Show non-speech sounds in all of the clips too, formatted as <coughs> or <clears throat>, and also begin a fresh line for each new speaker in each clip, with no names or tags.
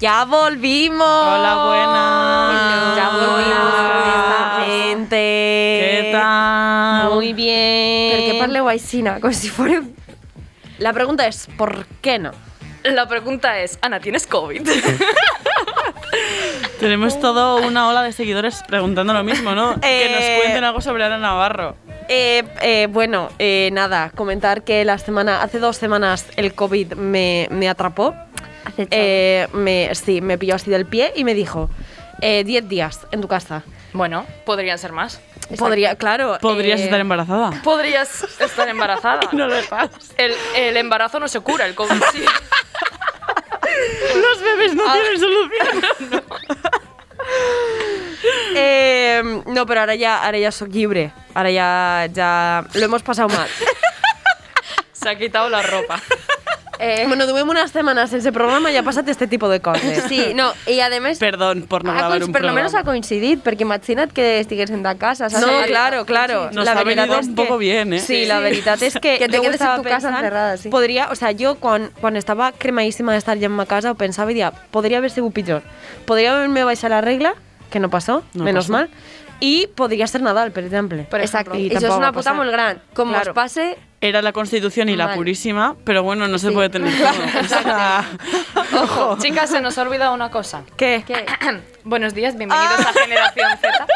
Ya volvimos.
Hola, buenas.
Ya volvimos con esta gente.
¿Qué tal?
Eh,
<laughs>
Muy bien.
Per què parleu així, com si fórem...
La pregunta es, ¿por qué no?
La pregunta es, Ana, ¿tienes COVID?
Tenemos toda una ola de seguidores preguntando lo mismo, ¿no? que
Eh,
nos cuenten algo sobre Ana Navarro.
Eh, eh, bueno, eh, nada, comentar que la semana, hace dos semanas el COVID me, me atrapó.
Hace chao.
Eh, me, sí, me pilló así del pie y me dijo, eh, 10 días en tu casa.
Bueno, podrían ser más.
Podría, claro.
Podrías
eh,
estar
<laughs>
embarazada.
Podrías estar embarazada.
<laughs> No lo estás.
El, el embarazo no se cura, el COVID sí.
Los bebés no tienen solución.
eh, no, pero ahora ya, ahora ya soy libre. Ahora ya, ya lo hemos pasado mal.
Se ha quitado la
<laughs>
ropa.
Eh,
bueno, tuvimos unas semanas en ese programa y ya pásate este tipo de cosas.
sí, no, i a més...
<laughs> Perdón por no
ha
grabar
coinc-
un
per
programa.
almenys ha coincidit, perquè imagina't que estigués en ta casa, saps?
No,
Sí.
claro, claro.
Nos ha
veritat
venido
és
un
que-
poco bien, ¿eh?
Sí, la verdad es que...
Que te
yo
quedes en
estaba
tu casa encerrada, sí.
Podría, o sea, yo cuando, cuando estaba cremadísima de estar ya en mi casa, pensaba y decía, podría haber sido pitjor. Podría haberme baixat la regla, que no pasó,
No
menos
pasó.
mal, y podría ser Nadal, por ejemplo.
Per
Exacte,
I
i
tampoc
això és
va
una puta
passar.
molt gran. Com
Claro.
claro. us passe,
Era la Constitución y la
Mal.
Purísima, pero bueno, no se
Sí.
puede tener todo. O sea,
Ojo. Chicas, se nos ha olvidado una cosa. <clears throat>
¿Qué? <coughs>
que...
Buenos días, bienvenidos
Ah.
a Generación Z.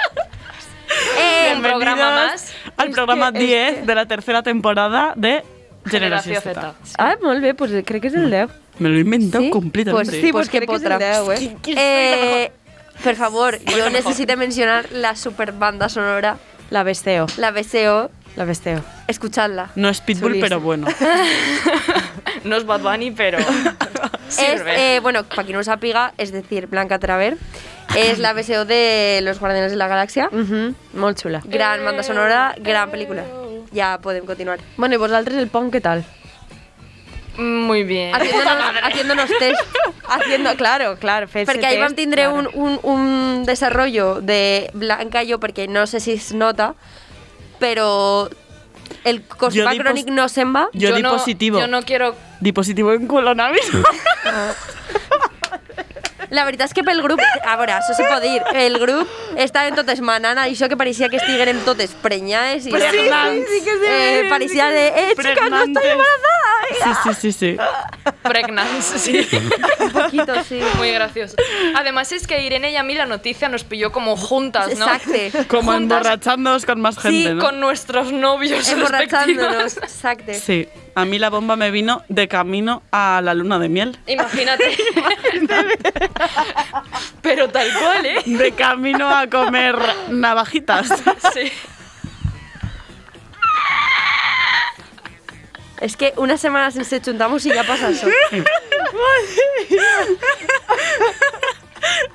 Eh,
<laughs>
Un programa
bienvenidos
más.
Al programa 10 de la tercera temporada de <laughs> Generación,
Generación
Z.
Z.
Ah, molt bé, pues creo que es el Leo.
Me lo he inventado completamente.
Pues sí, pues
Pues
que
crec que és
potra.
el deu, eh? Qui-
eh per favor, jo necessito mencionar la superbanda sonora,
La besteo,
la BCO,
la besteo.
escuchadla.
No es Pitbull,
Chulísimo.
pero bueno.
<laughs> No es Bad Bunny,
<laughs>
pero
Es,
sirve.
eh, bueno, para quien no lo sapiga, es decir, Blanca Traver, es la BSO de Los Guardianes de la Galaxia.
Mhm, molt xula.
Gran banda sonora, gran película. Ya podemos continuar.
Bueno, i vosaltres el punk, què tal?
Muy
<laughs>
bien.
Haciéndonos, haciéndonos test.
Haciendo, claro, claro. fer-se
Porque ahí
test,
van tindré
claro.
un, un, un desarrollo de Blanca y yo, porque no sé si es nota, pero el
Yo
Cospa
di
Chronic
pos-
no semba.
Yo, di positivo.
Yo no quiero...
Di positivo en coronavirus.
La veritat és que pel grup, a veure, això se pot dir, el grup estaven totes manant això que pareixia que estigueren totes prenyades i...
Pues Pregnants.
Pues sí, sí, sí, eh, pareixia de, eh, chicas, no estoy
Pregnantes.
embarazada. Eh,
Sí, sí, sí,
<laughs>
sí. <laughs>
Pregnance, sí.
Un poquito, sí.
Muy gracioso. Además es que Irene y a mí la noticia nos pilló como juntas, ¿no?
Exacte.
Como
Juntas.
emborrachándonos con más gente,
Sí,
¿no?
con nuestros novios
Emborrachándonos,
respectivos.
exacte.
Sí. A mí la bomba me vino de camino a la luna de miel.
<laughs>
<laughs>
Imagínate. Pero tal cual, ¿eh?
De camino a
<laughs>
comer navajitas.
Sí.
És que una setmana sense juntamos i ja passa això.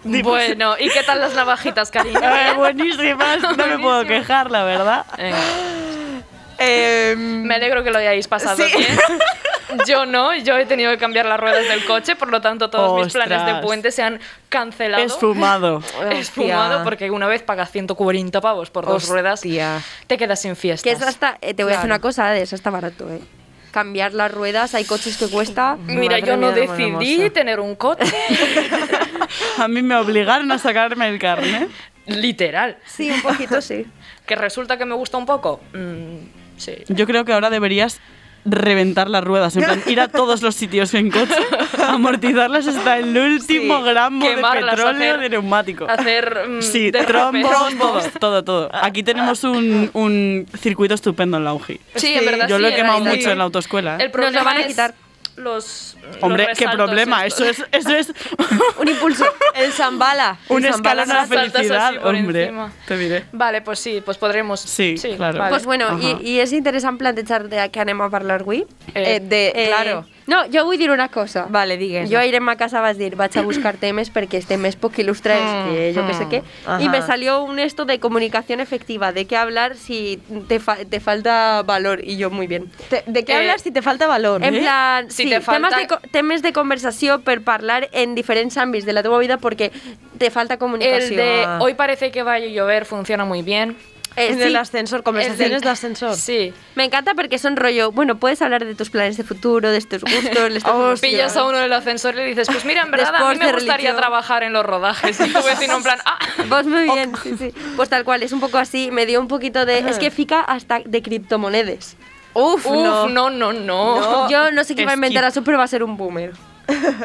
Bueno, ¿y qué tal las navajitas,
<laughs>
cariño?
Eh, buenísimas, no me puedo quejar, la verdad.
Venga.
Em,
Eh, Me alegro que lo hayáis pasado
Sí.
bien. Yo no, yo he tenido que cambiar las ruedas del coche, por lo tanto todos mis planes de
Ostras.
puente se han cancelado.
Esfumado.
Esfumado,
Hostia.
porque una vez pagas 140 pavos por dos ruedas,
Hostia.
te quedas sin fiestas.
Que es hasta, eh, te voy a hacer
Claro.
una cosa, eh, eso está barato, eh. Cambiar las ruedas, hay coches que cuesta...
Mira,
Madre
yo no
mía, hermana
decidí
hermosa.
tener
<laughs>
un coche.
A mí me obligaron a sacarme el carnet.
Literal.
Sí, un poquito sí.
¿Que resulta que me gusta un poco? Mm, sí.
Yo creo que ahora deberías reventar las ruedas, en plan, ir a todos los sitios en
<laughs>
coche, amortizarlas hasta el último
Sí,
gramo de
quemarlas,
petróleo
hacer-
de neumático.
Hacer. mm,
Sí,
derrapes.
trombos, todo, todo, todo. Aquí tenemos un, un circuito estupendo en la UGI.
Sí, en verdad
Yo
sí,
lo he
en
quemado
realidad.
mucho en la autoescuela. ¿eh?
El problema
van a
es
quitar.
Los.
Hombre,
los
qué
resaltos
problema,
estos.
eso es, eso es
<laughs> Un impulso.
El Zambala.
un
El Zambala
escalón a la
saltas así
felicidad,
por
hombre.
encima.
Te diré.
<laughs> Vale, pues sí, pues podremos.
Sí, claro.
vale.
Pues bueno,
Ajá.
i, i és interessant plantejar de què anem a parlar avui.
Eh, de,
Eh,
claro.
No, jo vull dir una cosa.
Vale, digues.
Jo iré a ma casa vaig dir, vaig a buscar temes perquè és temes poc il·lustres, que jo que sé què.
Ajá.
I me salió un esto de comunicación efectiva, de qué hablar si te, fa- te falta valor. I jo, muy bien.
<laughs> Te- ¿De qué
Eh,
hablas si te falta valor?
En
eh?
plan,
Si
sí,
te falta-
temes, de, co- temes de conversació per parlar en diferents àmbits de la teva vida perquè te falta
El
comunicació.
de
Ah.
hoy parece que va a llover funciona muy bien.
Eh,
en
sí.
el ascensor, conversaciones
Es
de ascensor.
Sí.
Me encanta porque son rollo, bueno, puedes hablar de tus planes de futuro, de tus gustos, les
O pillas a uno del ascensor y le dices, pues mira, en verdad a mí
Deporte,
me gustaría
religión.
trabajar en los rodajes. <laughs> Y tu vecino en plan, ah,
Vos muy bien, sí, sí. Pues tal cual, es un poco así, me dio un poquito de... Es que fica hasta de criptomonedas.
Uf,
uff, no, no, no. no.
Yo no sé qué va a
Es
inventar
que-
eso, pero va a ser un boomer.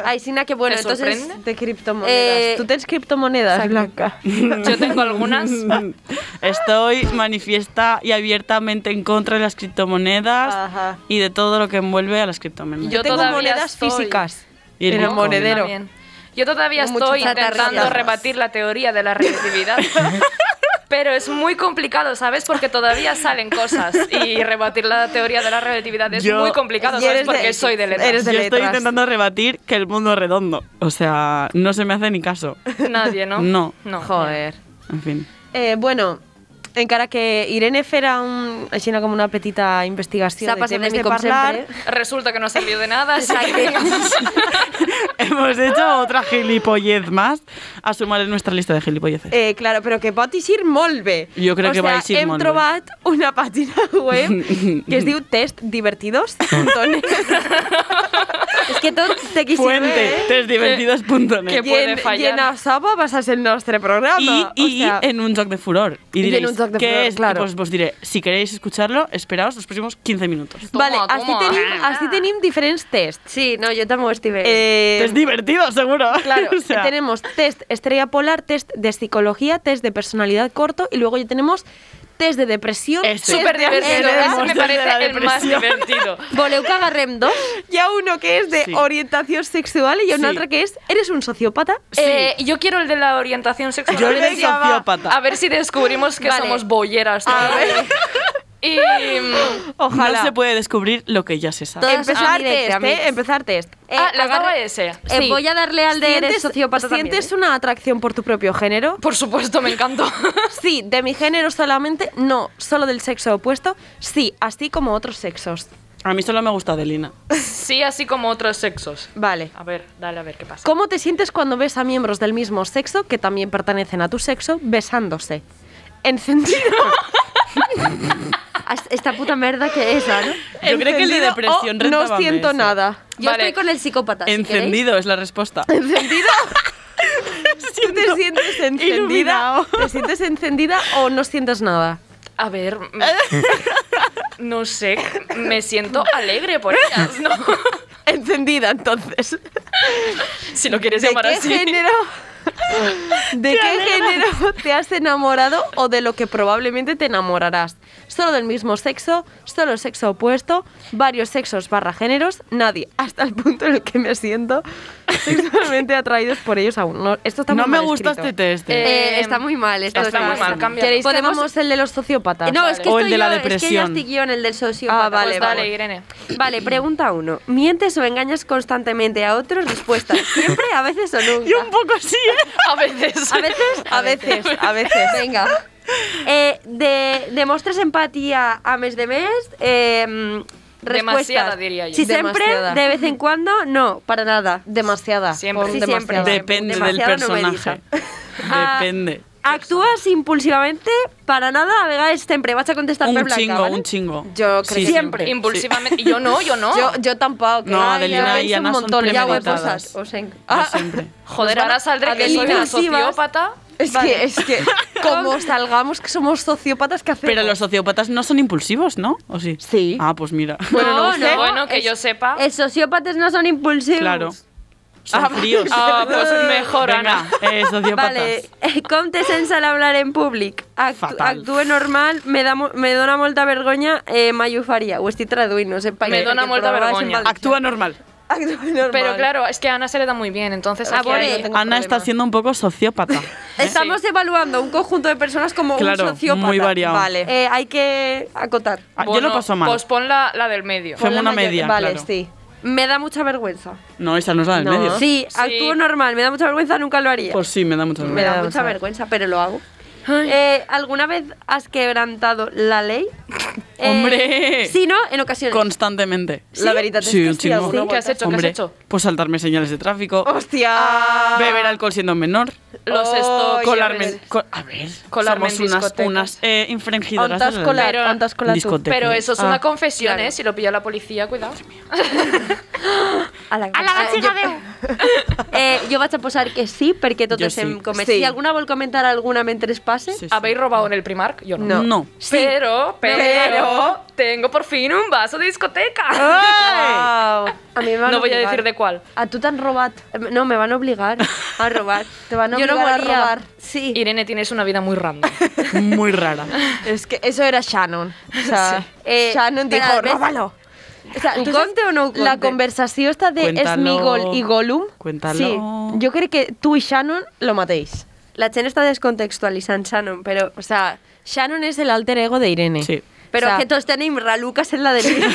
Ay, Sina, que bueno,
¿Te
entonces...
sorprende?
De criptomonedas.
Eh,
Tú tienes criptomonedas,
exacto.
Blanca.
<laughs> Yo tengo algunas.
<laughs> Estoy manifiesta y abiertamente en contra de las criptomonedas
Ajá.
y de todo lo que envuelve a las criptomonedas.
Yo
tengo
todavía
monedas
estoy.
físicas
Y el
en el
Bitcoin.
monedero.
También. Yo todavía
Mucho
estoy
chatarra,
intentando
chatarra.
rebatir la teoría de
<laughs>
la relatividad. Pero es muy complicado, ¿sabes? Porque todavía salen cosas y rebatir la teoría de la relatividad es
Yo-
muy complicado,
Y
¿sabes?
eres de-
Porque soy de letras.
eres de
Yo estoy
letras.
intentando rebatir que el mundo es redondo. O sea, no se me hace ni caso.
<laughs> Nadie, ¿no?
No.
No.
Joder.
En fin. <laughs>
Eh, bueno, encara que Irene fera un, aixina com una petita investigació
S'ha
de
passat de
temes
mi
de
com
parlar,
sempre.
Resulta que no sirvió de nada. así que- <laughs>
Hemos hecho otra gilipollez más a sumar en nuestra lista de gilipolleces.
eh, claro, però que pot eixir molt bé.
Jo crec
o
que
sea,
va eixir
hem
molt bé.
trobat una pàgina web que es diu testdivertidos.net
Es que todo te quisiera...
Fuente,
que-
testdivertidos.net.
i, ¿eh? en,
puede fallar.
i en això va passar el nostre programa.
Y,
o
y
sea,
en un joc de furor. Y
en
diréis,
un joc de
¿qué
furor,
es? Y
claro.
pues os diré, si queréis escucharlo, esperaos los próximos 15 minutos.
Vale,
Toma,
així
toma.
tenim, així tenim diferents tests.
Sí, no, yo tampoco estoy...
Eh,
es divertido, seguro.
Claro,
<laughs> O sea,
tenemos test estrella polar, test de psicología, test de personalidad corto y luego ya tenemos test de depresión.
Es
test
Súper
de
divertido.
ansiedad.
Ese me
Desde la
parece el más
depresión.
divertido.
Voleu que agarrem dos?
<laughs> Y a uno que es de
Sí.
orientación sexual y a una
Sí.
otra que es, ¿eres un sociópata?
Sí.
Eh, yo quiero el de la orientación sexual.
Yo
A
el
ver
de
si-
sociópata.
A ver si descubrimos que
Vale.
somos bolleras.
A
también.
ver,
<laughs> Y mm,
ojalá.
No se puede descubrir lo que ya se sabe.
Todo- Todas
Empezar
son directas,
test,
amigos.
¿eh? Empezar test.
Eh,
ah, la
agarre-
daba ese.
Eh,
Sí.
Voy a darle al de eres
¿Sientes-
sociópata también.
¿Sientes
¿eh?
una atracción por tu propio género?
Por supuesto, me encantó. <laughs>
Sí, de mi género solamente, no, solo del sexo opuesto, sí, así como otros sexos.
A mí solo me gusta Adelina.
Sí, así como otros sexos.
Vale.
A ver, dale a ver qué pasa.
¿Cómo te sientes cuando ves a miembros del mismo sexo que también pertenecen a tu sexo besándose? Encendido.
As- Esta puta mierda que es, ¿no?
<laughs> Yo creo que el de
encendido
depresión ¿eh?
o No
retábame
siento
ese.
nada.
Yo
Vale.
estoy con el psicópata. si queréis.
Encendido es la respuesta.
<laughs>
<laughs>
¿Encendido? <laughs> ¿Tú te sientes encendida?
Iluminado.
¿Te sientes encendida o no sientes nada?
A ver. mm, No sé, me siento alegre por ellas, ¿no? <laughs>
Encendida, entonces.
Si lo quieres
¿De
llamar
qué
así. <laughs>
género? ¿De qué género te has enamorado o de lo que probablemente te enamorarás? Solo del mismo sexo, solo sexo opuesto, varios sexos barra géneros, nadie, hasta el punto en el que me siento sexualmente atraídos por ellos aún. No, esto está
no
muy
me
mal
gusta
escrito.
este test.
Eh,
Eh, está muy mal. Está,
está muy mal, cambia.
¿Queréis que
Podemos-
hagamos el de los sociópatas?
No, es que
O el
estoy
de la
yo- Es que yo
depresión.
estoy guión, el del sociópata.
Ah, vale,
pues
vale.
dale, Irene.
Vale, pregunta uno. ¿Mientes o engañas constantemente a otros? Respuesta. Siempre, a veces
<laughs>
o nunca.
Yo un poco así, ¿eh?
A veces. <laughs>
A veces.
<laughs> A veces, a veces.
Venga. Eh, de, ¿Demuestras empatía a mes de mes? Eh, mm,
Demasiada,
respuestas.
diría yo.
Si siempre,
Demasiada.
de vez en cuando, no, para nada.
Demasiada.
Siempre.
pon
Sí,
demasiada.
siempre.
Depende del
Demasiado
personaje. <laughs>
Ah,
Depende.
¿Actúas impulsivamente? Para nada, a vegades siempre. Vas a contestar per
Un
blanca,
chingo,
¿vale?
un chingo.
Ah, Yo creo que
siempre.
Impulsivamente. Yo no, yo no.
Yo, yo tampoco. que-
No,
Ay, ya
Adelina y
veis un
Ana son
montón, ya
Ya
voy a
premeditadas.
posar.
hueposas, os en-
No
Ah. <laughs>
siempre.
pues
Joder, ahora saldré que soy una
Impulsivas.
sociópata.
Es que, es que, <laughs> como salgamos que somos sociópatas, ¿qué hacemos?
Pero los sociópatas no son impulsivos, ¿no? ¿O sí?
Sí.
Ah, pues
<laughs>
mira.
Bueno, no sé.
Bueno, ¿eh? que yo sepa.
Los sociópatas no son impulsivos.
Claro. Son fríos. <laughs>
Ah, pues mejor,
Venga,
Ana.
eh, sociópatas.
Vale, com te sents al hablar en públic? Actu
Fatal.
Actue normal, me, da, mo- me dona molta vergonya, eh, m'allufaria. Ho estic traduint, no sé. perquè-
Me dona
perquè
molta
probava això en
vergonya.
valencià.
Actúa normal.
Actúa normal.
Pero claro, es que a Ana se le da muy bien, entonces
Ah,
aquí
bueno,
hay-
yo tengo-
Ana está
problema.
siendo un poco sociópata.
Estamos evaluando un conjunto de personas como un
Claro,
sociópata.
muy variado.
Vale.
Eh, hay que acotar.
Ah, yo
Bueno,
lo paso mal. Pues,
Pues pon la, la del medio.
Fue
Ponle
una
mayor-
media,
Vale,
claro.
sí.
Me da mucha vergüenza.
No, esa no es la del
No.
medio.
Sí, actúo normal, me da mucha vergüenza, nunca lo haría.
Pues sí, me da mucho
me da
da
mucha
mucha-
<laughs> vergüenza, pero lo hago. Eh, ¿Alguna vez has quebrantado la ley? Eh,
Hombre.
Sí, ¿no? En ocasiones.
Constantemente.
La verdad es
Sí,
que
un
sí,
chingo.
alguna
Sí, ¿qué has
vuelta.
hecho? ¿Qué
Hombre,
has hecho?
pues saltarme señales de tráfico,
¡Hostia!
beber alcohol siendo menor,
Los
Oye,
stocks.
Colarme.
colarme... co- a ver,
Colarme
somos
en
unas,
discotecas.
unas eh, infringidoras.
Antas
de la
colar,
Pero-
antas colar tú.
Discoteca.
Pero eso es
Ah,
una confesión, ¿eh? Si lo pilla la policía, cuidado. Ah,
A la, eh, jo, <laughs>
Pues
eh, jo vaig a posar que sí, perquè totes
Jo sí.
hem comès.
Sí.
Si alguna vol comentar alguna mentre es passe...
Sí, sí.
¿Habéis robado en el Primark? Yo no.
No.
Pero, pero,
Pero-
tengo por fin un vaso de discoteca.
Guau. A mí me van
<laughs> No voy a
obligar.
decir de cuál.
A tú te han robado.
Em, No, me van a obligar a <laughs> robar.
Te van a
Yo no
obligar a
volía.
robar.
Sí.
Irene, tienes una vida muy random.
Muy rara.
Es que eso era Shannon. O sea,
Eh,
Shannon dijo,
espera, ¿ves?
róbalo. O sea,
Ho
entonces,
conte o no ho
La
conte?
conversació està de
Cuéntalo.
Smigol i Gollum.
Cuéntalo.
Sí, jo crec que tu i Shannon lo mateix.
La gent està descontextualitzant Shannon, però...
O sea, Shannon és el alter ego de Irene.
Sí.
Però
O sea,
que tots tenim raluques en la <laughs> deriva.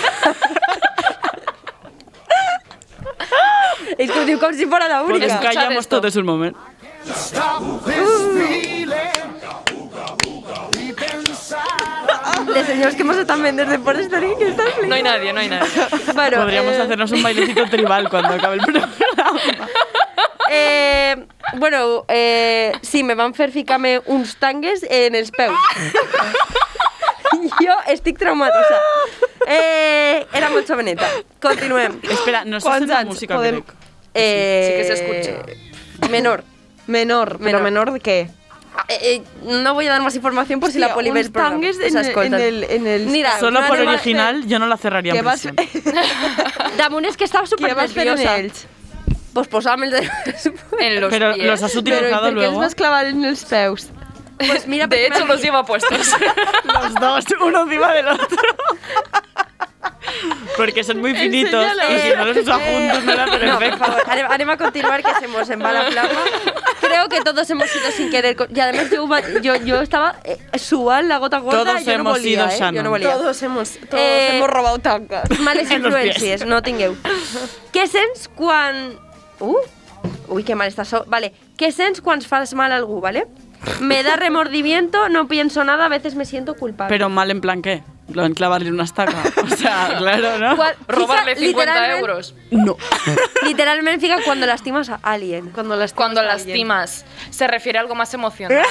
És que ho diu com si fos la
Nos
única.
Escuchad
callamos
esto.
todos un momento.
Los señores que hemos estado vendiendo de por estar aquí, que están
No hay nadie, no hay nadie.
<laughs> Bueno,
Podríamos
eh,
hacernos un bailecito tribal cuando acabe el programa.
eh, bueno, eh, sí, me van fer ficar-me uns tangues en els <laughs> peus. jo estic traumatitzada. Eh, era molt joveneta. Continuem.
<laughs> Espera, no estás
¿Cuántos
en la
años
música,
podemos-
Greg.
Eh,
sí que se
escucha. Eh, Menor.
Menor, però
Menor.
menor de què?
Eh, eh, no voy a dar más información por si la poli ve el
uns
programa.
tangues en,
O sea, escolta.
en el... En el
Mira,
Solo
no
por
anem a- <laughs>
original yo no la cerraría
<laughs> que
en
vas,
prisión.
Damunt és que estava
que vas fer en
supernerviosa.
ells.
Pues posa'm el de... <laughs>
En los
Pero
pies.
los has
Però
utilizado
per què els
luego. <laughs>
vas clavar en els peus?
pues mira,
De
perquè
hecho,
m'han
los lleva puestos.
Los dos, uno encima del otro. <laughs> Porque son muy finitos.
Enséñalo.
Y si no los usas juntos, no era
No, por
perfecto.
favor, anem, anem a continuar que se nos va la flama. Creo que todos hemos sido sin querer. co- Y además yo, va- yo, yo estaba eh, suban la gota gorda.
Todos
y yo no
hemos
volía,
sido
eh, Yo
Shannon.
no volía.
hemos,
Eh,
robado tangas.
<laughs> Males
En los pies.
influències, no tingueu. Què sents quan... Uh, ui, que mal està so... Vale. Què sents quan fas mal a algú, vale? Me da remordimiento, no pienso nada, a veces me siento culpable.
Pero mal en plan qué. Lo en clavarle una estaca. O <laughs> sea, claro, ¿no?
Cual-
<laughs> Robarle
fixa,
50
literalment-
euros.
No.
Literalmente fica cuando lastimas a alguien.
Cuando lastimas
Cuando
a alguien.
lastimas, se refiere a algo más emocional. ¿no?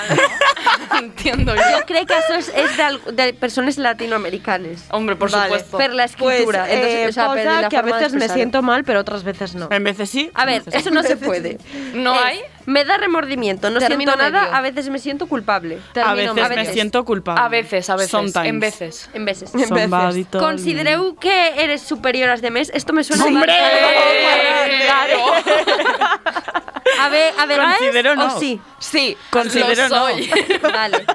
Entiendo yo.
Yo creo que eso es, es de, al- de personas latinoamericanas.
Hombre, por
Vale.
supuesto.
Per la
Pues,
escritura.
eh,
Entonces, o sea, per
posa
la
que a
forma de
veces me
expresar.
siento mal, pero otras veces no.
En veces sí.
A ver,
en veces
eso no se puede.
¿No
Es,
hay?
Me da remordimiento, no
Término
siento nada,
medio.
a veces me siento culpable.
no. a
Termino
veces
mal.
me siento culpable.
A veces, a veces.
Sometimes.
En veces.
<laughs>
En veces.
En veces.
Somebody told me.
Considereu que eres superior a los demás. Esto me suena
¡Hombre! Oh,
¡Eh!
A ver, a ver,
Considero no. ¿Eh?
o sí.
Oh, Sí.
Considero
Lo
no.
soy.
<laughs>
<laughs> Vale.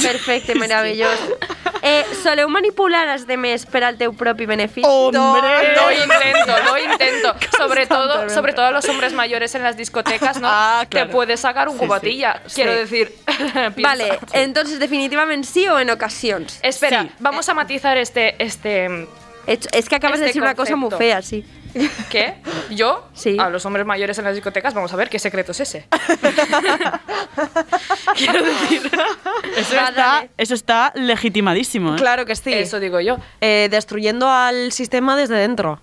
Perfecte, meravellós. Eh, soleu manipular els demés per al teu propi benefici?
¡Hombre!
Lo intento, lo intento. Sobre todo, sobre todo a los hombres mayores en las discotecas, ¿no?
Ah, claro.
Te puedes sacar un
Sí,
cubatilla. Quiero
Sí.
decir. <laughs> piensa.
Vale, entonces definitivamente sí o en ocasiones.
Espera,
Sí.
vamos a matizar este, este,
Es, es que acabas de
Este
decir una cosa muy
concepto.
fea, sí.
¿qué? ¿Yo?
Sí.
A los hombres mayores en las discotecas, vamos a ver qué secreto es ese. Quiero decir,
Eso
Va,
está,
dale.
Ah, eso está legitimadísimo. ¿eh?
Claro que sí.
eso digo yo.
Eh, destruyendo al sistema desde dentro.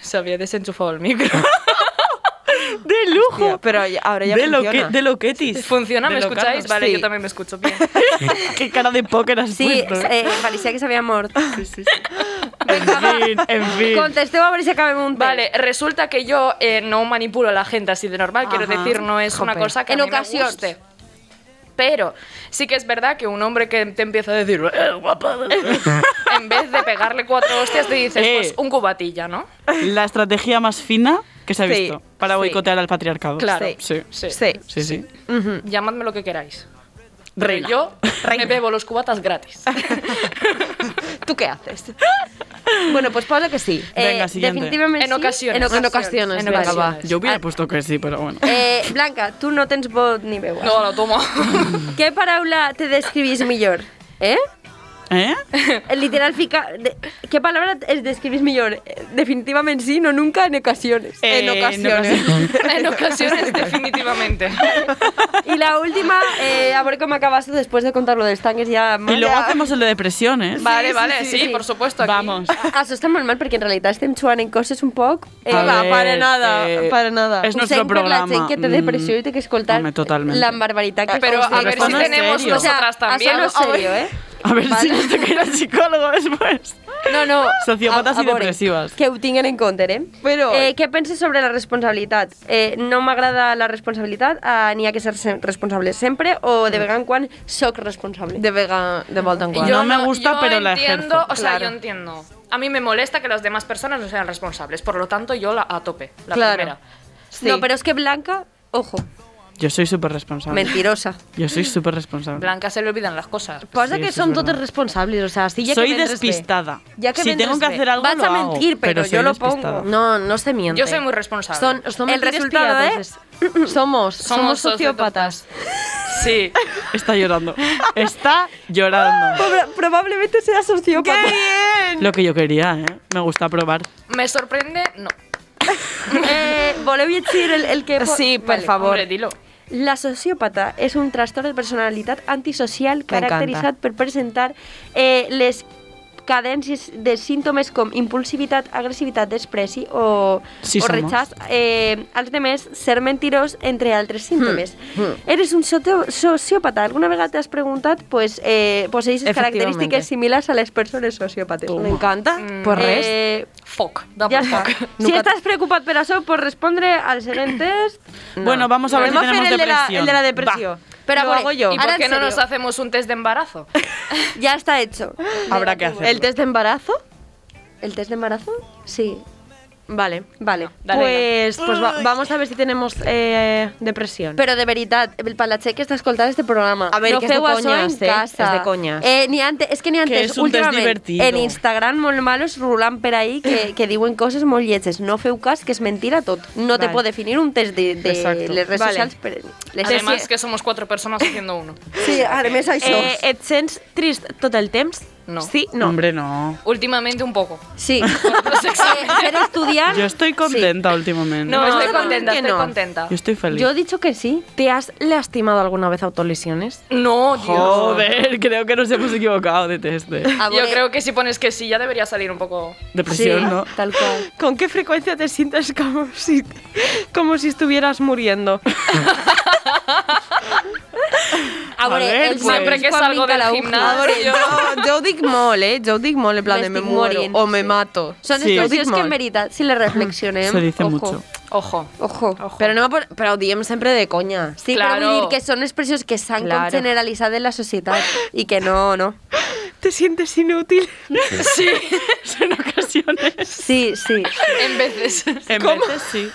Se había desenchufado el micro.
De lujo.
Tía, pero ya- ahora ya
de lo
funciona.
que, de lo quetis.
¿Funciona? ¿Me
De lo
escucháis?
Carlos.
Vale,
Sí.
yo también me escucho bien.
<laughs> Qué cara de póker has
Sí,
puesto. ¿eh?
eh, parecía que se había muerto.
Sí, sí, sí. En fin, en fin.
Contesteu a ver si acabem un
Vale,
<laughs>
resulta que yo eh, no manipulo a la gente así de normal, quiero
Ajá.
decir, no es una
Jope.
cosa que
En
a mí
ocasiones.
me guste. Pero sí que es verdad que un hombre que te empieza a decir, "Eh, guapa", en vez de pegarle cuatro hostias, te dices,
Eh.
pues un cubatilla, ¿no?
La estrategia más fina que se ha
Sí,
visto para
sí.
boicotear al patriarcado.
Claro.
Sí.
Sí.
Sí.
Sí, sí.
Llamadme lo que queráis.
Reina.
Yo me bebo los cubatas gratis.
¿Tú qué haces? <laughs> bueno, pues pausa que sí.
Venga, siguiente.
Eh, Definitivamente
En
sí,
ocasiones.
En
En
ocasiones.
ocasiones,
En
venga,
ocasiones.
va.
Yo hubiera
Ah.
puesto que sí, pero bueno.
Eh, Blanca, tu no tens vot ni veu.
No, la tomo.
<laughs> Què paraula te descrivís millor? Eh? <laughs>
¿Eh?
Literal, fica... de- ¿Qué palabra es describís mejor? Eh, Definitivamente sí, no nunca, en ocasiones.
Eh,
en ocasiones.
<laughs> En ocasiones, definitivamente.
Y la última, eh, a ver cómo acabas después de contar lo de tanques ya...
Y luego hacemos el de depresión, ¿eh?
Vale,
sí,
vale,
sí,
sí,
sí.
por supuesto. aquí.
Vamos.
Asustan Ah, molt mal perquè en realitat estem jugant en coses un poc... Eh,
A
va,
ver, eh,
para nada, para nada.
Es nuestro
usem per
programa.
la gent que té
Mm,
depressió i té que escoltar
Home, totalmente.
la barbaritat que
Pero
acabes
a
de
ver
Esto
si
contar.
no es
tenemos
serio.
O sea,
nosotras también.
Això no és serio, eh?
A ver si
Vale.
nos toca ir al psicólogo después.
No, no.
Sociòpates
a- a
i
veure,
depressives.
Que ho tinguin en compte, eh?
Però-
Eh, què penses sobre la responsabilitat? Eh, no m'agrada la responsabilitat, eh, n'hi ha que ser sem- responsable sempre o de vegada en quan soc responsable?
Mm. De vega, de volta en
No
quan.
Yo- me gusta,
yo
pero la
entiendo,
ejerzo,
O sea,
claro.
yo entiendo. A mí me molesta que las demás personas no sean responsables. Por lo tanto, yo la, a tope, la
Claro.
primera.
Sí.
No, però és que Blanca, ojo,
Yo soy súper responsable.
mentirosa.
Yo soy súper responsable.
Blanca se le olvidan las cosas.
Pasa
Sí,
que
eso
son
es verdad.
todos responsables, o sea, si ya que
soy
vendres ve.
despistada.
Ya que
si
vendres
tengo que
ve.
hacer algo,
Vas
lo
a
hago,
mentir, pero
soy
yo lo
despistada.
pongo.
No, no se miente.
Yo soy muy responsable.
Son, son
El
mentiras
resultado
piadosas. <clears throat> Somos, somos sociópatas.
sociópatas. Sí.
Está llorando. Está llorando.
Probablemente sea sociópata.
Lo que yo quería, ¿eh? Me gusta probar.
Me sorprende. No.
Eh, voleu llegir el, el que... po-
Sí, per
Vale.
favor.
Hombre, dilo.
La sociópata és un trastorn de personalitat antisocial
M'encanta.
caracteritzat per presentar eh, les cadències de símptomes com impulsivitat, agressivitat, despreci o,
Sí,
o
somos.
rechaç eh, als demés, ser mentirós, entre
Hmm,
altres símptomes. Eres un soto- sociòpata. Alguna vegada t'has preguntat pues, eh, posseixes
Efectivamente.
característiques similars a les persones sociòpates.
Me encanta.
Mm.
Pues res.
Eh,
Fuck. Double
ja
<laughs>
està.
fuck.
Si
Nunca-
estàs preocupat per això, pots respondre al
<coughs>
següent test.
No.
Bueno, vamos a ver si
Volvemos
tenemos
el de la,
depresión.
el de la
Va.
depresión.
Pero
Lo
ahora-
hago yo.
¿Y
Ahora
por
en
qué no
serio.
nos hacemos un test de embarazo?
Ya está hecho.
Habrá que hacerlo.
¿El test de embarazo?
¿El test de embarazo? Sí.
Vale.
Vale.
Dale,
pues pues va- vamos a ver si tenemos eh, depresión.
Però de veritat, el palatxer que està escoltant este programa.
A ver,
no
que és de
feu això
conyes,
en
eh?
casa.
És de conyes.
Eh, ni antes, és que ni antes,
és un test
últimament,
divertido.
en Instagram molt malos rulant per ahí que, que diuen coses molt lletges. No feu cas, que és mentira tot. No te
Vale.
pot definir un test de, de
Exacto.
les redes
Vale.
socials. Per, les
Además, que somos cuatro personas haciendo uno.
Sí, a més això.
Eh, et sents trist tot el temps?
No.
Sí? No.
Hombre, no.
Últimamente un poco.
sí. eh, ser estudiant...
Yo estoy contenta últimamente.
No,
No,
estoy
no,
contenta,
que
estoy
no.
contenta.
Yo estoy
Sí.
feliz.
Yo he dicho que sí.
¿Te has lastimado alguna vez autolesiones?
No, Dios.
Joder, creo que nos hemos equivocado de
<laughs>
test. de-
Ah, A
Yo
veure-
creo que si pones que sí, ya debería salir un poco.
Sí,
Depresión, ¿no?
tal qual.
¿Con qué frecuencia te sientes como si, como si estuvieras <laughs> muriendo? Ah,
A veure,
ver, pues.
els
Siempre
mans
que
quan
salgo
vinca
del
la uja.
A
gimnasio,
veure, jo, jo ho dic molt, eh? Jo ho dic molt, en plan de me
M'estic
muero
morint,
o me
sí.
mato.
Són
Sí.
expressions que en
Digimon.
veritat, si les reflexionem...
Se dice
ojo,
mucho.
ojo.
Ojo.
Ojo.
Però, anem a por, però ho diem sempre de conya.
Sí,
Claro.
però vull dir que són expressions que s'han
Claro.
claro. generalitzat en la societat i que no, no.
Te sientes inútil.
<laughs>
Sí,
en ocasiones.
Sí, sí.
en veces.
En veces sí.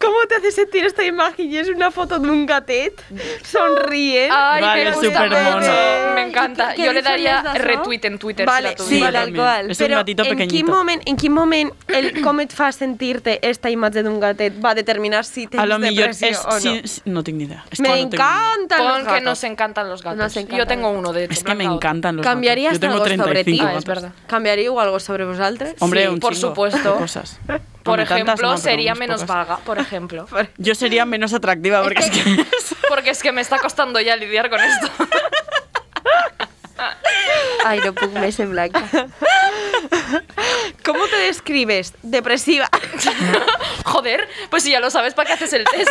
¿Cómo te hace sentir esta imagen? Y es una foto de un gatet sonríe.
Ay,
Vale,
me gusta
supermono.
mucho. Me encanta.
¿Qué- qué
Yo le
dicen
daría
las dos, no?
retweet en Twitter
Vale,
si
Sí,
la
Yo
tuviera.
tal
también.
cual.
Es un gatito
en
pequeñito.
Quin moment, en quin moment el com et fa sentir-te esta imatge d'un gatet va determinar si tens
A lo mejor
depressió
es.
o no?
sí- sí- no tengo ni idea. Es
Me
cuando tengo ni idea.
encantan los
Pon que
gatos.
nos encantan los gatos.
Nos encantan.
Yo tengo uno, de hecho.
Es que me
Blanca, otro.
encantan los
¿Cambiarías
gatos. Yo tengo
algo sobre
35
ti?
Ah,
gatos.
es verdad.
¿Cambiarío algo sobre vosaltres?
Hombre,
Sí,
un
por
chingo de
supuesto.
cosas.
Por
No, tantas
ejemplo,
no, pero
sería
unas
menos
pocas. Pues-
vaga,
<laughs>
por ejemplo.
Yo sería menos atractiva porque es que
Porque es que me está costando ya lidiar con esto. <laughs>
Ai, no puc més en blanc.
¿Cómo te describes? Depresiva,
Joder, pues si ya lo sabes, ¿para qué haces el test?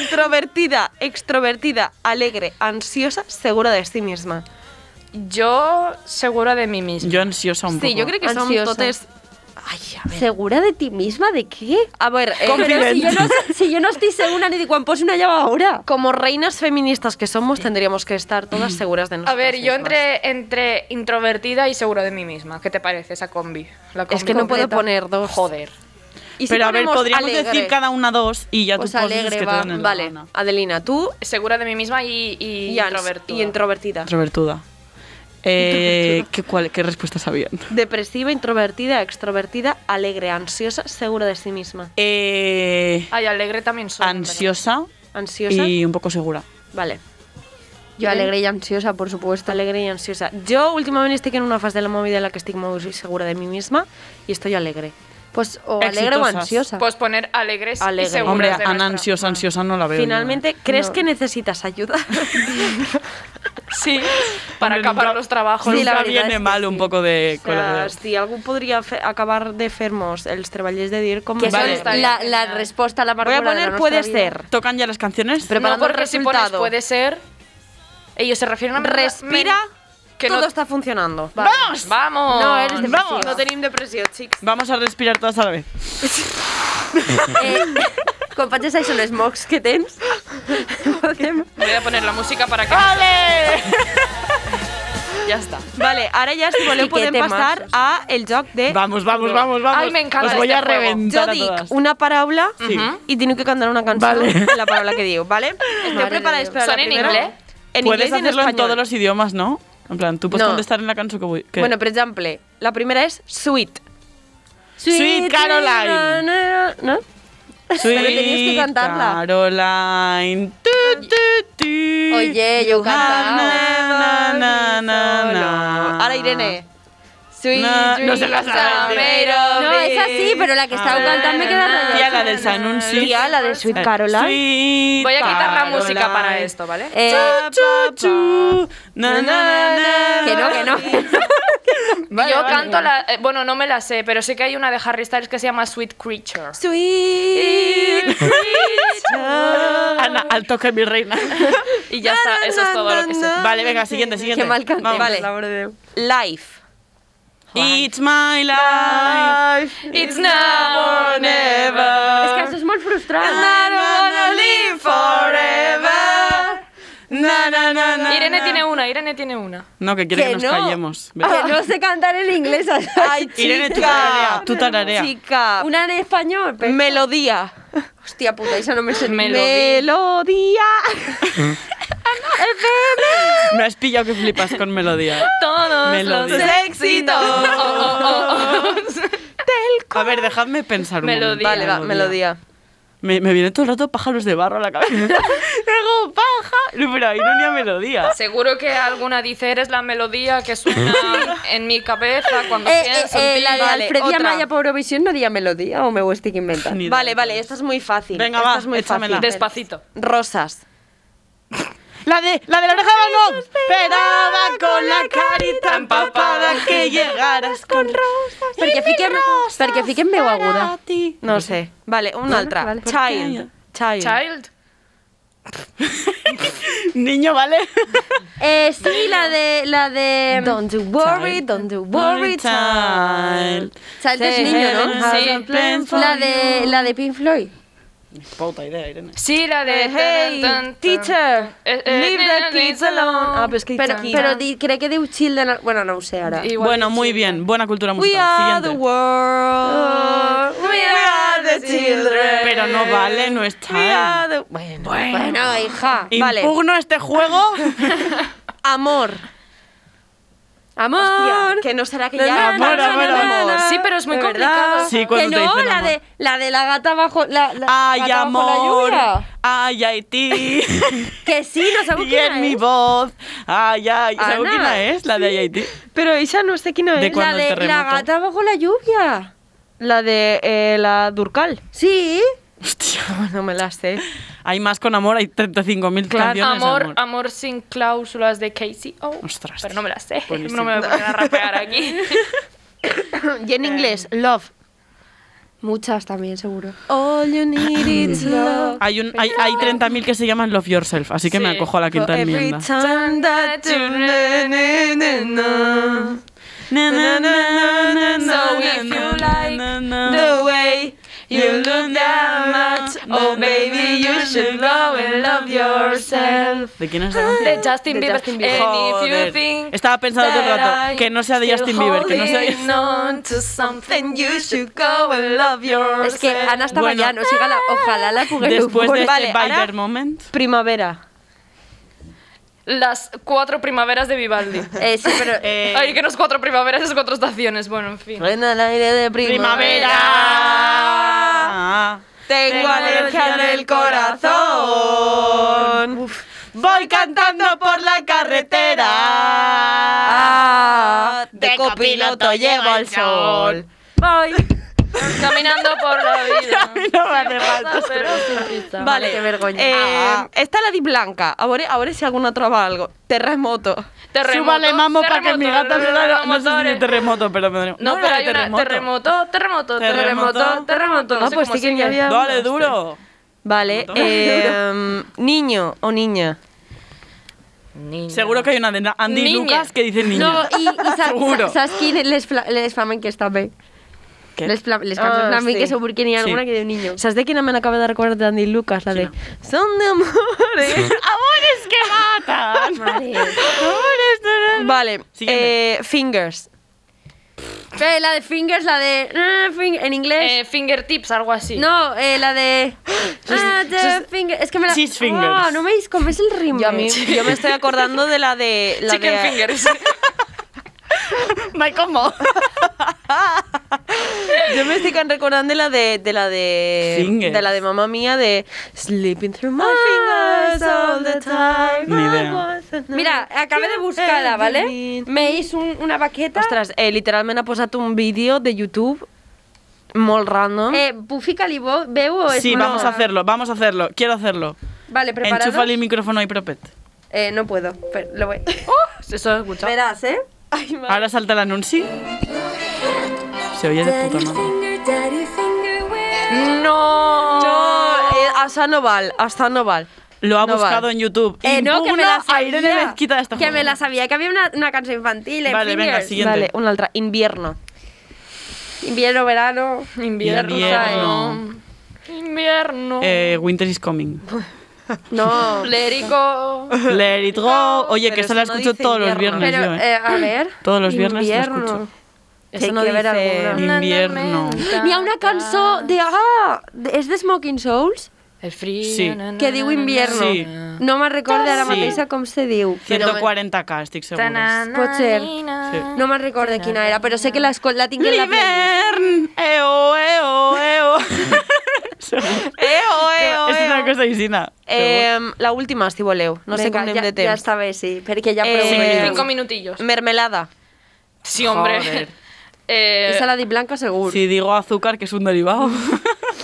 introvertida, extrovertida, alegre, ansiosa, segura de sí misma.
Yo segura de mí misma.
<laughs> yo ansiosa un poco.
Sí, jo crec que són
Ansiosa.
totes... Ai, a veure...
Segura de ti misma de què?
A veure, eh,
Però si jo no, si jo no estic segura ni de quan poso una llave ahora.
como reinas feministas que somos, tendríamos que estar todas seguras de
Mm. A
nosotras
ver, yo
mismas.
entre, entre introvertida y segura de mí misma. ¿Qué te parece esa combi? La combi
Es que no puedo
completa.
poner dos.
Joder.
¿Y si
Pero a ver,
ponemos
podríamos
alegre?
decir cada una dos y ya
Pues
tú poses
alegre,
que
va.
te den
Vale, Adelina, tú
Segura de mí misma y, y
y, ans-
introvertida.
y introvertida.
Introvertuda. Eh, ¿qué, cuál, ¿Qué respuestas habían?
Depresiva, introvertida, extrovertida, alegre, ansiosa, segura de sí misma.
Eh,
Ay, alegre también soy.
ansiosa
Ansiosa.
y un poco segura.
Vale.
Yo alegre y ansiosa, por supuesto.
Alegre y ansiosa. Yo últimamente estoy en una fase de la movida en la que estoy muy segura de mí misma y estoy alegre.
Pues o alegre o
Exitosas.
ansiosa.
Pues poner alegres
Alegre.
y seguras
Hombre,
de
Ana
nuestra-
ansiosa, ansiosa no la veo. yo, ¿eh?
Finalmente, ¿crees
No.
que necesitas
<laughs>
ayuda?
Sí, para
Hombre,
acabar
nunca-
los trabajos.
Sí,
Nunca
la verdad
viene
es que
mal un
sí.
poco de
O sea,
colaborar.
si algú podria fer, acabar de fer-nos els treballs de dir com...
que
Vale.
son la, la
Genial.
respuesta a la
Voy a
amargura de la
poner
nuestra
puede
vida.
ser.
¿Tocan ya las canciones?
No,
preparando el
porque si pones
resultado.
puede ser. Ellos se refieren a.
Respira,
que no-
todo està funcionant.
Vale.
¡Vamos!
No, eres depresiva.
Vamos.
No tenim depressió, xics.
Vamos a respirar todas a la vez.
Eh, quan faig això, són els mocs que
<laughs>
tens, podem...
Voy a poner la música para que. ya está.
Vale, ara ja, si voleu,
I què
podem
temazos.
passar a el joc de...
Vamos, vamos, vamos, vamos.
Ay, me encanta
Os voy
este
a
juego.
Jo
reventar a
dic
todas.
una paraula
Sí.
i teniu que cantar una cançó
Vale.
en la paraula que diu, ¿vale? Esteu
Mare
preparades
de Déu.
per a la
Són en
primera?
inglés?
En
Puedes
inglés y en
hacerlo en,
español.
todos los idiomas, ¿no? En plan, tú puedes
No.
contestar en la canción que voy. que-
Bueno, <laughs> per exemple, la primera és Sweet.
Sweet Caroline.
No?
Sweet
pero tenías que cantarla.
Caroline. Tu, tu, tu.
Oye, yo cantaba.
Na, na, na, na, na.
Ahora Irene. Sweet
Na- no se la
dreams
sabe,
are
tío.
made of
No, es así,
this.
pero la que estaba cantando me queda rayada.
Tía, Ah, la Ah. del Sanun, sí.
Tía, la de Sweet Caroline.
Sweet
Voy a quitar la
Caroline.
música para esto, ¿vale?
Eh,
Cha, cha, chu. Na, na, na,
que no, que no.
Vale,
Yo
vale.
canto la. eh, bueno, no me la sé, pero sé que hay una de Harry Styles que se llama Sweet
<laughs>
Creature.
Sweet creature.
Ana, <laughs> al toque mi
<laughs>
reina.
Y ya está, eso es todo lo que sé.
Vale, venga, siguiente, siguiente.
Qué mal canté.
Vamos.
Vale. Life.
It's my life.
It's now or never.
Ah.
Es que això és molt frustrant.
Na, na, na, na,
Irene
na.
tiene una, Irene tiene una.
No, que quiere que,
Que
nos
no.
callemos. ¿ves?
<laughs> Que no sé cantar en inglés.
Ay,
Irene, tú
chica.
tararea, tú tararea.
Chica.
<laughs> Una en español. Pero...
Melodía.
Hostia puta, esa no me eh, sé.
Me-
Melodía.
Me has pillado que flipas con melodía.
Todos
Melodía.
los
éxitos.
Oh, oh, oh, oh.
A ver, dejadme pensar un momento.
Melodía.
Vale, va, melodía.
Me, me viene todo el rato pájaros de barro a la
<laughs>
cabeza. <laughs> Luego, paja. No, pero ahí no ni a melodía.
Seguro que alguna dice, eres la melodía que suena en mi cabeza cuando
Eh, eh,
pienso en
eh,
ti".
la de
Vale,
Alfred y
otra.
Amaya por Eurovisión no diga melodía o me voy a estar inventando.
Ni idea.
Vale, vale, esta es muy fácil.
Venga,
esta
va,
es muy
échamela.
fácil.
Despacito.
Rosas.
La de la, de la oreja de Van Gogh. Esperaba con la carita empapada que llegaras con rosas.
Perquè fiquem, perquè fiquem veu aguda.
No sé. Vale, una altra.
vale.
Child. Child.
Child.
Niño, ¿vale?
Eh, sí, la de... La de... mm,
Don't you worry, don't you worry, child.
Child es niño, ¿no?
Sí.
La de, la de Pink Floyd.
<laughs> Puta idea, Irene.
Sí, la de...
Hey,
tan, tan, tan.
teacher,
Eh, eh,
leave the kids alone. Ah, pero es que
Pero,
aquí-
pero di, crec que diu Children... al- Bueno, no ho sé ara.
Igual
bueno,
sí.
muy bien. Buena cultura
We are
musical.
the
Siguiente.
world. Uh, We are the children.
Pero no vale, no es
We
child.
are the... Bueno.
Bueno, hija.
Vale.
Impugno este <laughs> juego.
Amor.
Amor.
Que no será que
Na,
ya...
na,
Amor,
na,
amor,
na, na,
amor.
na.
Sí, pero es muy
¿De
complicado.
Sí,
Que
cuando te
no,
dicen
la
amor.
de, la de la gata bajo la, la
Ay,
gata bajo
amor.
la lluvia.
Ay, ay, ti.
Que sí, no sabeu
<laughs> y
quina
en mi
és.
voz. Ay, ay. ¿Sabes
Ana.
quién la es? La de ay, ay, ti.
Pero esa no sé quién
De
es.
cu-
La
Cuando el
de la
terremoto.
gata bajo la lluvia.
La de eh, la Durcal.
Sí.
Hostia.
<laughs> No me la sé.
Hay más con amor, hay 35.000 canciones.
Amor,
amor.
amor, sin cláusulas de Casey. Oh,
Ostras.
pero no me la sé. <laughs>
Buenísimo.
No me voy a poner a rapear aquí.
<laughs> Y en inglés, love.
Muchas también, seguro.
All you need is love.
Hay, un, hay, hay 30.000 que se llaman Love Yourself, así que me
Sí.
acojo a la
For
quinta
every
enmienda.
time that you- na, na, na, na.
Na, na, na, na, na,
So if
na,
you
na,
like
na, na.
The way you look that much. Oh, baby, you should go and love yourself.
<laughs> ¿De quién es la canción?
De Justin Bieber. Eh,
Justin
And if
Joder.
you think
Estaba pensando todo el
that
rato que no sea de
I'm
Justin Bieber, que no sea
holding on to something.
Then you should go and love yourself.
Es que Ana estaba
Bueno.
ya, no siga la, ojalá la
<laughs>
pugueu
después de
Vale,
este Viber
ahora-
moment.
Primavera.
Las cuatro primaveras
<laughs>
de Vivaldi.
Eh, sí, pero...
Ay, que no es cuatro primaveras, es cuatro estaciones. Bueno, en fin.
Reina el aire de
Primavera. Ah.
Tengo alergia en el corazón.
Voy cantando por la carretera.
Ah,
de copiloto llevo el sol.
Voy.
Caminando por la
<laughs>
vida.
No me hace falta.
Pasa, pero sin prisa.
Vale,
qué vergüenza.
eh,
Ah.
está la di blanca. Ahora, ahora si alguna traba algo. Terremoto.
Terremoto,
Súbale, mamo, para que mi
terremoto,
gata me la No sé si
terremoto,
es terremoto, pero me
No, pero hay una terremoto,
Terremoto.
terremoto, terremoto, terremoto. No
Ah,
sé
pues sí
cómo
que
sigue.
ya había-
Dale, duro.
Vale, <laughs> eh, niño o niña.
Niña.
Seguro que hay una de Andy
Niña.
Lucas que dice niña.
No, y, y sa-
Seguro.
sa- saps quin les, fla- les flamenques també?
¿Qué?
Les, fla les cançons
Ah,
flamenques
sí.
o perquè n'hi ha
Sí.
alguna que diu niño.
¿Sabes de quién me la acaba de recordar de Andy Lucas? La de Son de amores. <laughs> amores que matan.
<laughs> Vale.
Vale, eh,
Siguiente.
fingers.
Eh, la de fingers, la de... eh, fing- en inglés.
Eh, fingertips, algo así.
No, eh, la de... Ah, the
just-
finger- Es que me la...
cheese fingers.
Oh, no me dis com és el ritme.
Yo, a mí- yo me estoy acordando de la de. La
Chicken
de
fingers. <laughs>
<laughs> No hay como.
Yo me estoy can- recordando de la de. De la de.
Fingers.
De la de mamá mía de. Sleeping through my fingers all the time.
Ah, Ni idea.
I wasn't
Mira, acabé de buscar-la, ¿vale?
everything.
Me hice un, una baqueta.
Ostres, eh, literalment ha posat un vídeo de YouTube molt random.
Eh, Buffy Calibó, veu o es
Sí,
una-
vamos a hacerlo, vamos a hacerlo. Quiero hacerlo.
Vale, ¿preparados?
Enchúfale el micrófono ahí, Propet.
Eh, no puedo, pero
<laughs>
lo voy.
Oh,
Eso he escuchado.
Verás, ¿eh?
Ahora salta el anuncio. Se oye de puta madre.
No, eh, hasta no val, hasta no val.
Lo ha
No
buscado
vale.
en YouTube.
Eh, no, que me
Impugna
la sabía.
a Irene Mezquita de esta
Que me
forma.
la sabía, que había una, una canción infantil en
Vale, venga,
Fingers.
sí. Siguiente.
Vale, una altra, invierno.
Invierno, verano.
Invierno.
Invierno.
Invierno.
Eh, Winter is coming.
No.
Lérico.
Let it go. Oye, que
Pero
esa la
eso no
escucho
dice
todos los
invierno.
viernes
Pero,
yo, eh.
eh, a ver.
Todos los viernes la
invierno.
escucho.
Eso
Hay
no
que ver
dice-
alguna.
Invierno.
Hi ha una cançó de... Ah, de- és de Smoking Souls,
El frío.
Sí.
que diu invierno.
Sí.
No me'n recorda ara
Sí.
mateixa com se diu.
140k, estoy segura.
Pot ser.
Sí.
No me'n recorda quina era, però sé que la, escol- la tinc en la playlist.
L'hivern!
<laughs>
Eo, eo, eo. <laughs> Segur.
Eo, eo,
És una cosa d'Isina.
Eh, la última, si voleu. No sé
Vinga,
com anem
ja,
de temps.
Ja està bé, sí, perquè ja
Eh,
eh,
Cinco minutillos.
Mermelada.
Sí, hombre.
Joder.
<laughs> Eh,
Esa la di blanca segur.
Si digo azúcar, que es un
<laughs>
derivado.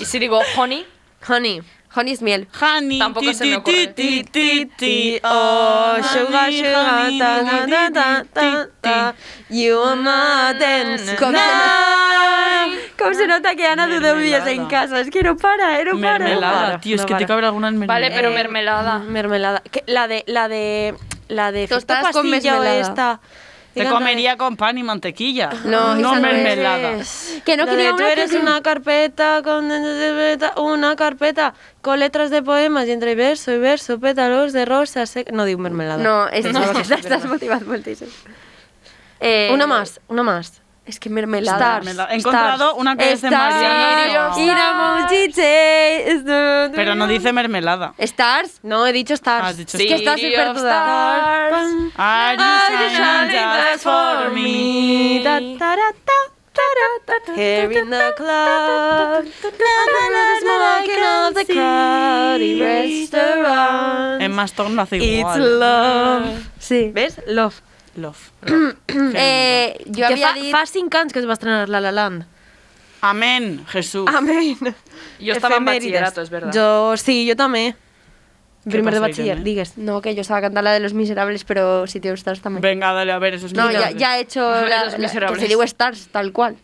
Y si digo honey,
Honey.
Honey is miel.
Honey,
Tampoco
ti,
se me
ti,
ocurre.
ti, ti, ti,
oh,
honey,
sugar, sugar,
honey,
ta, ta,
honey,
ta,
ti,
ta,
ti,
ta,
ti,
ta. You are my dance.
Com se, nota, com se nota que Ana dudeu dies en
Mermelada.
casa. És que no para, eh? No para.
Mermelada,
para,
tío, es
no
que
para.
te cabe alguna en mermelada.
vale,
Mm.
pero mermelada.
Mermelada. Que- La de, la de, la de.
Tostadas
Efecto
con
Pasillo
mermelada.
esta.
Te
Digan la de-
comería con pan y mantequilla.
No, esa no es.
mermelada.
Que no,
La
que
de
n'hi
tú
ha una que
eres
diu-
una carpeta con una carpeta con letras de poemas y entre verso y verso pétalos de rosas sec- no digo mermelada
No,
<laughs>
és,
Pensava que sí,
estàs motivat moltíssim. Eh,
una más una más
És que mermelada.
Stars.
Mermelada. He encontrado
Stars.
una que es de
Stars.
Mariana.
Sí,
In a mountain days.
Pero no dice mermelada.
Stars.
no he dicho stars
Has dicho
Sí.
Es que estás
City
súper
of
duda.
Are you shining just for me?
Da, da, da, da, da, da, da, Here in the club, the smoking of the crowded
En
restaurant.
Maston lo hace
It's
igual.
love.
Sí.
¿Ves? Love.
Love.
Eh, jo
que
havia
fa,
dit...
fa cinc anys que es va estrenar La La Land.
Amén, Jesús.
Amén.
Yo estaba en
Efemèrides.
bachillerato, es verdad.
Jo, sí, jo també. Primer de
pasa,
batxiller,
Irene?
digues.
No, que yo estaba cantando la de Los Miserables, pero si te Stars también.
Venga, dale a ver esos
no, ya,
milagros.
ya he
<laughs>
hecho
Los
la, la- que
Miserables.
se digo Stars, tal cual.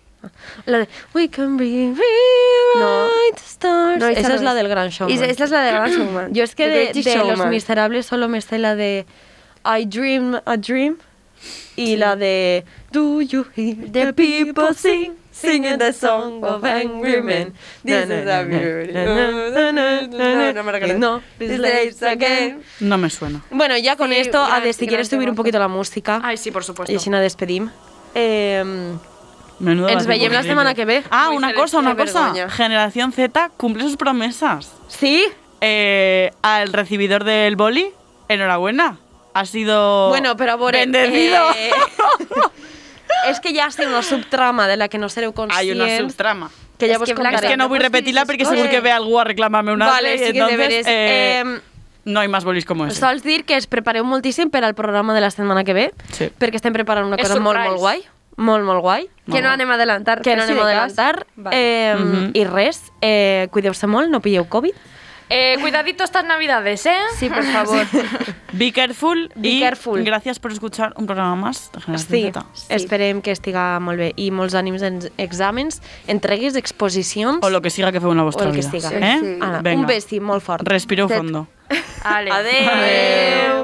La de We can be rewrite stars.
No, esa
Esa
no
es la
es.
del Gran Showman.
Y esa es la de Gran Showman.
Yo es que
The
de,
Greatest
de Los
Showman.
Miserables solo me sé la de I Dream a Dream y la de Do you hear the people sing? Singing the song of angry men. This is a beauty. No,
no me recuerdo.
No, this lives again.
No me suena.
Bueno, ya con
Sí,
esto, a
gran-
de, si
gran
quieres subir un
temazo.
poquito la música
Ay, sí, por supuesto.
y si no despedim. Eh,
Menudo.
ens veiem la setmana que ve.
Ah,
Muy
una
feliz,
cosa, una
qué
cosa.
vergüenza.
Generación Z cumple sus promesas.
¿Sí?
Eh, al recibidor del boli, enhorabuena. Ha sido
Bueno, pero por el-
bendecido.
eh, <laughs> es que ya ha sido una subtrama de la que no sereu conscients.
<laughs> Hay una subtrama.
Que ya
Es
vos
que Blanca-
contaré.
Es que no voy a repetirla porque seguro que ve algo a reclamarme una
Vale,
vez,
sí que
entonces,
deberes.
eh,
Em,
no hay más bolis como ese.
Sols dir que es prepareu moltíssim per al programa de la setmana que ve,
Sí.
perquè estem preparant una
És
cosa molt,
surprise.
molt guai, molt, molt guai,
Que no anem a adelantar.
que no
per si
anem
de
a
cas.
adelantar.
Vale.
Eh,
Mhm.
I res, eh, cuideu-se molt, no pilleu Covid.
Eh, cuidadito estas navidades, ¿eh?
Sí, por
<laughs>
favor.
Be careful
Be
y
careful.
gracias por escuchar un programa más de Generación
Sí,
Z.
esperem que estiga molt bé. I molts ànims en exàmens, entregues, exposicions...
O lo que siga que fue una
o
vuestra
el que
vida.
siga.
¿Eh?
Ala,
Venga.
un besi molt fort.
Respiro
Tet-
fondo.
Ale.
Adeu.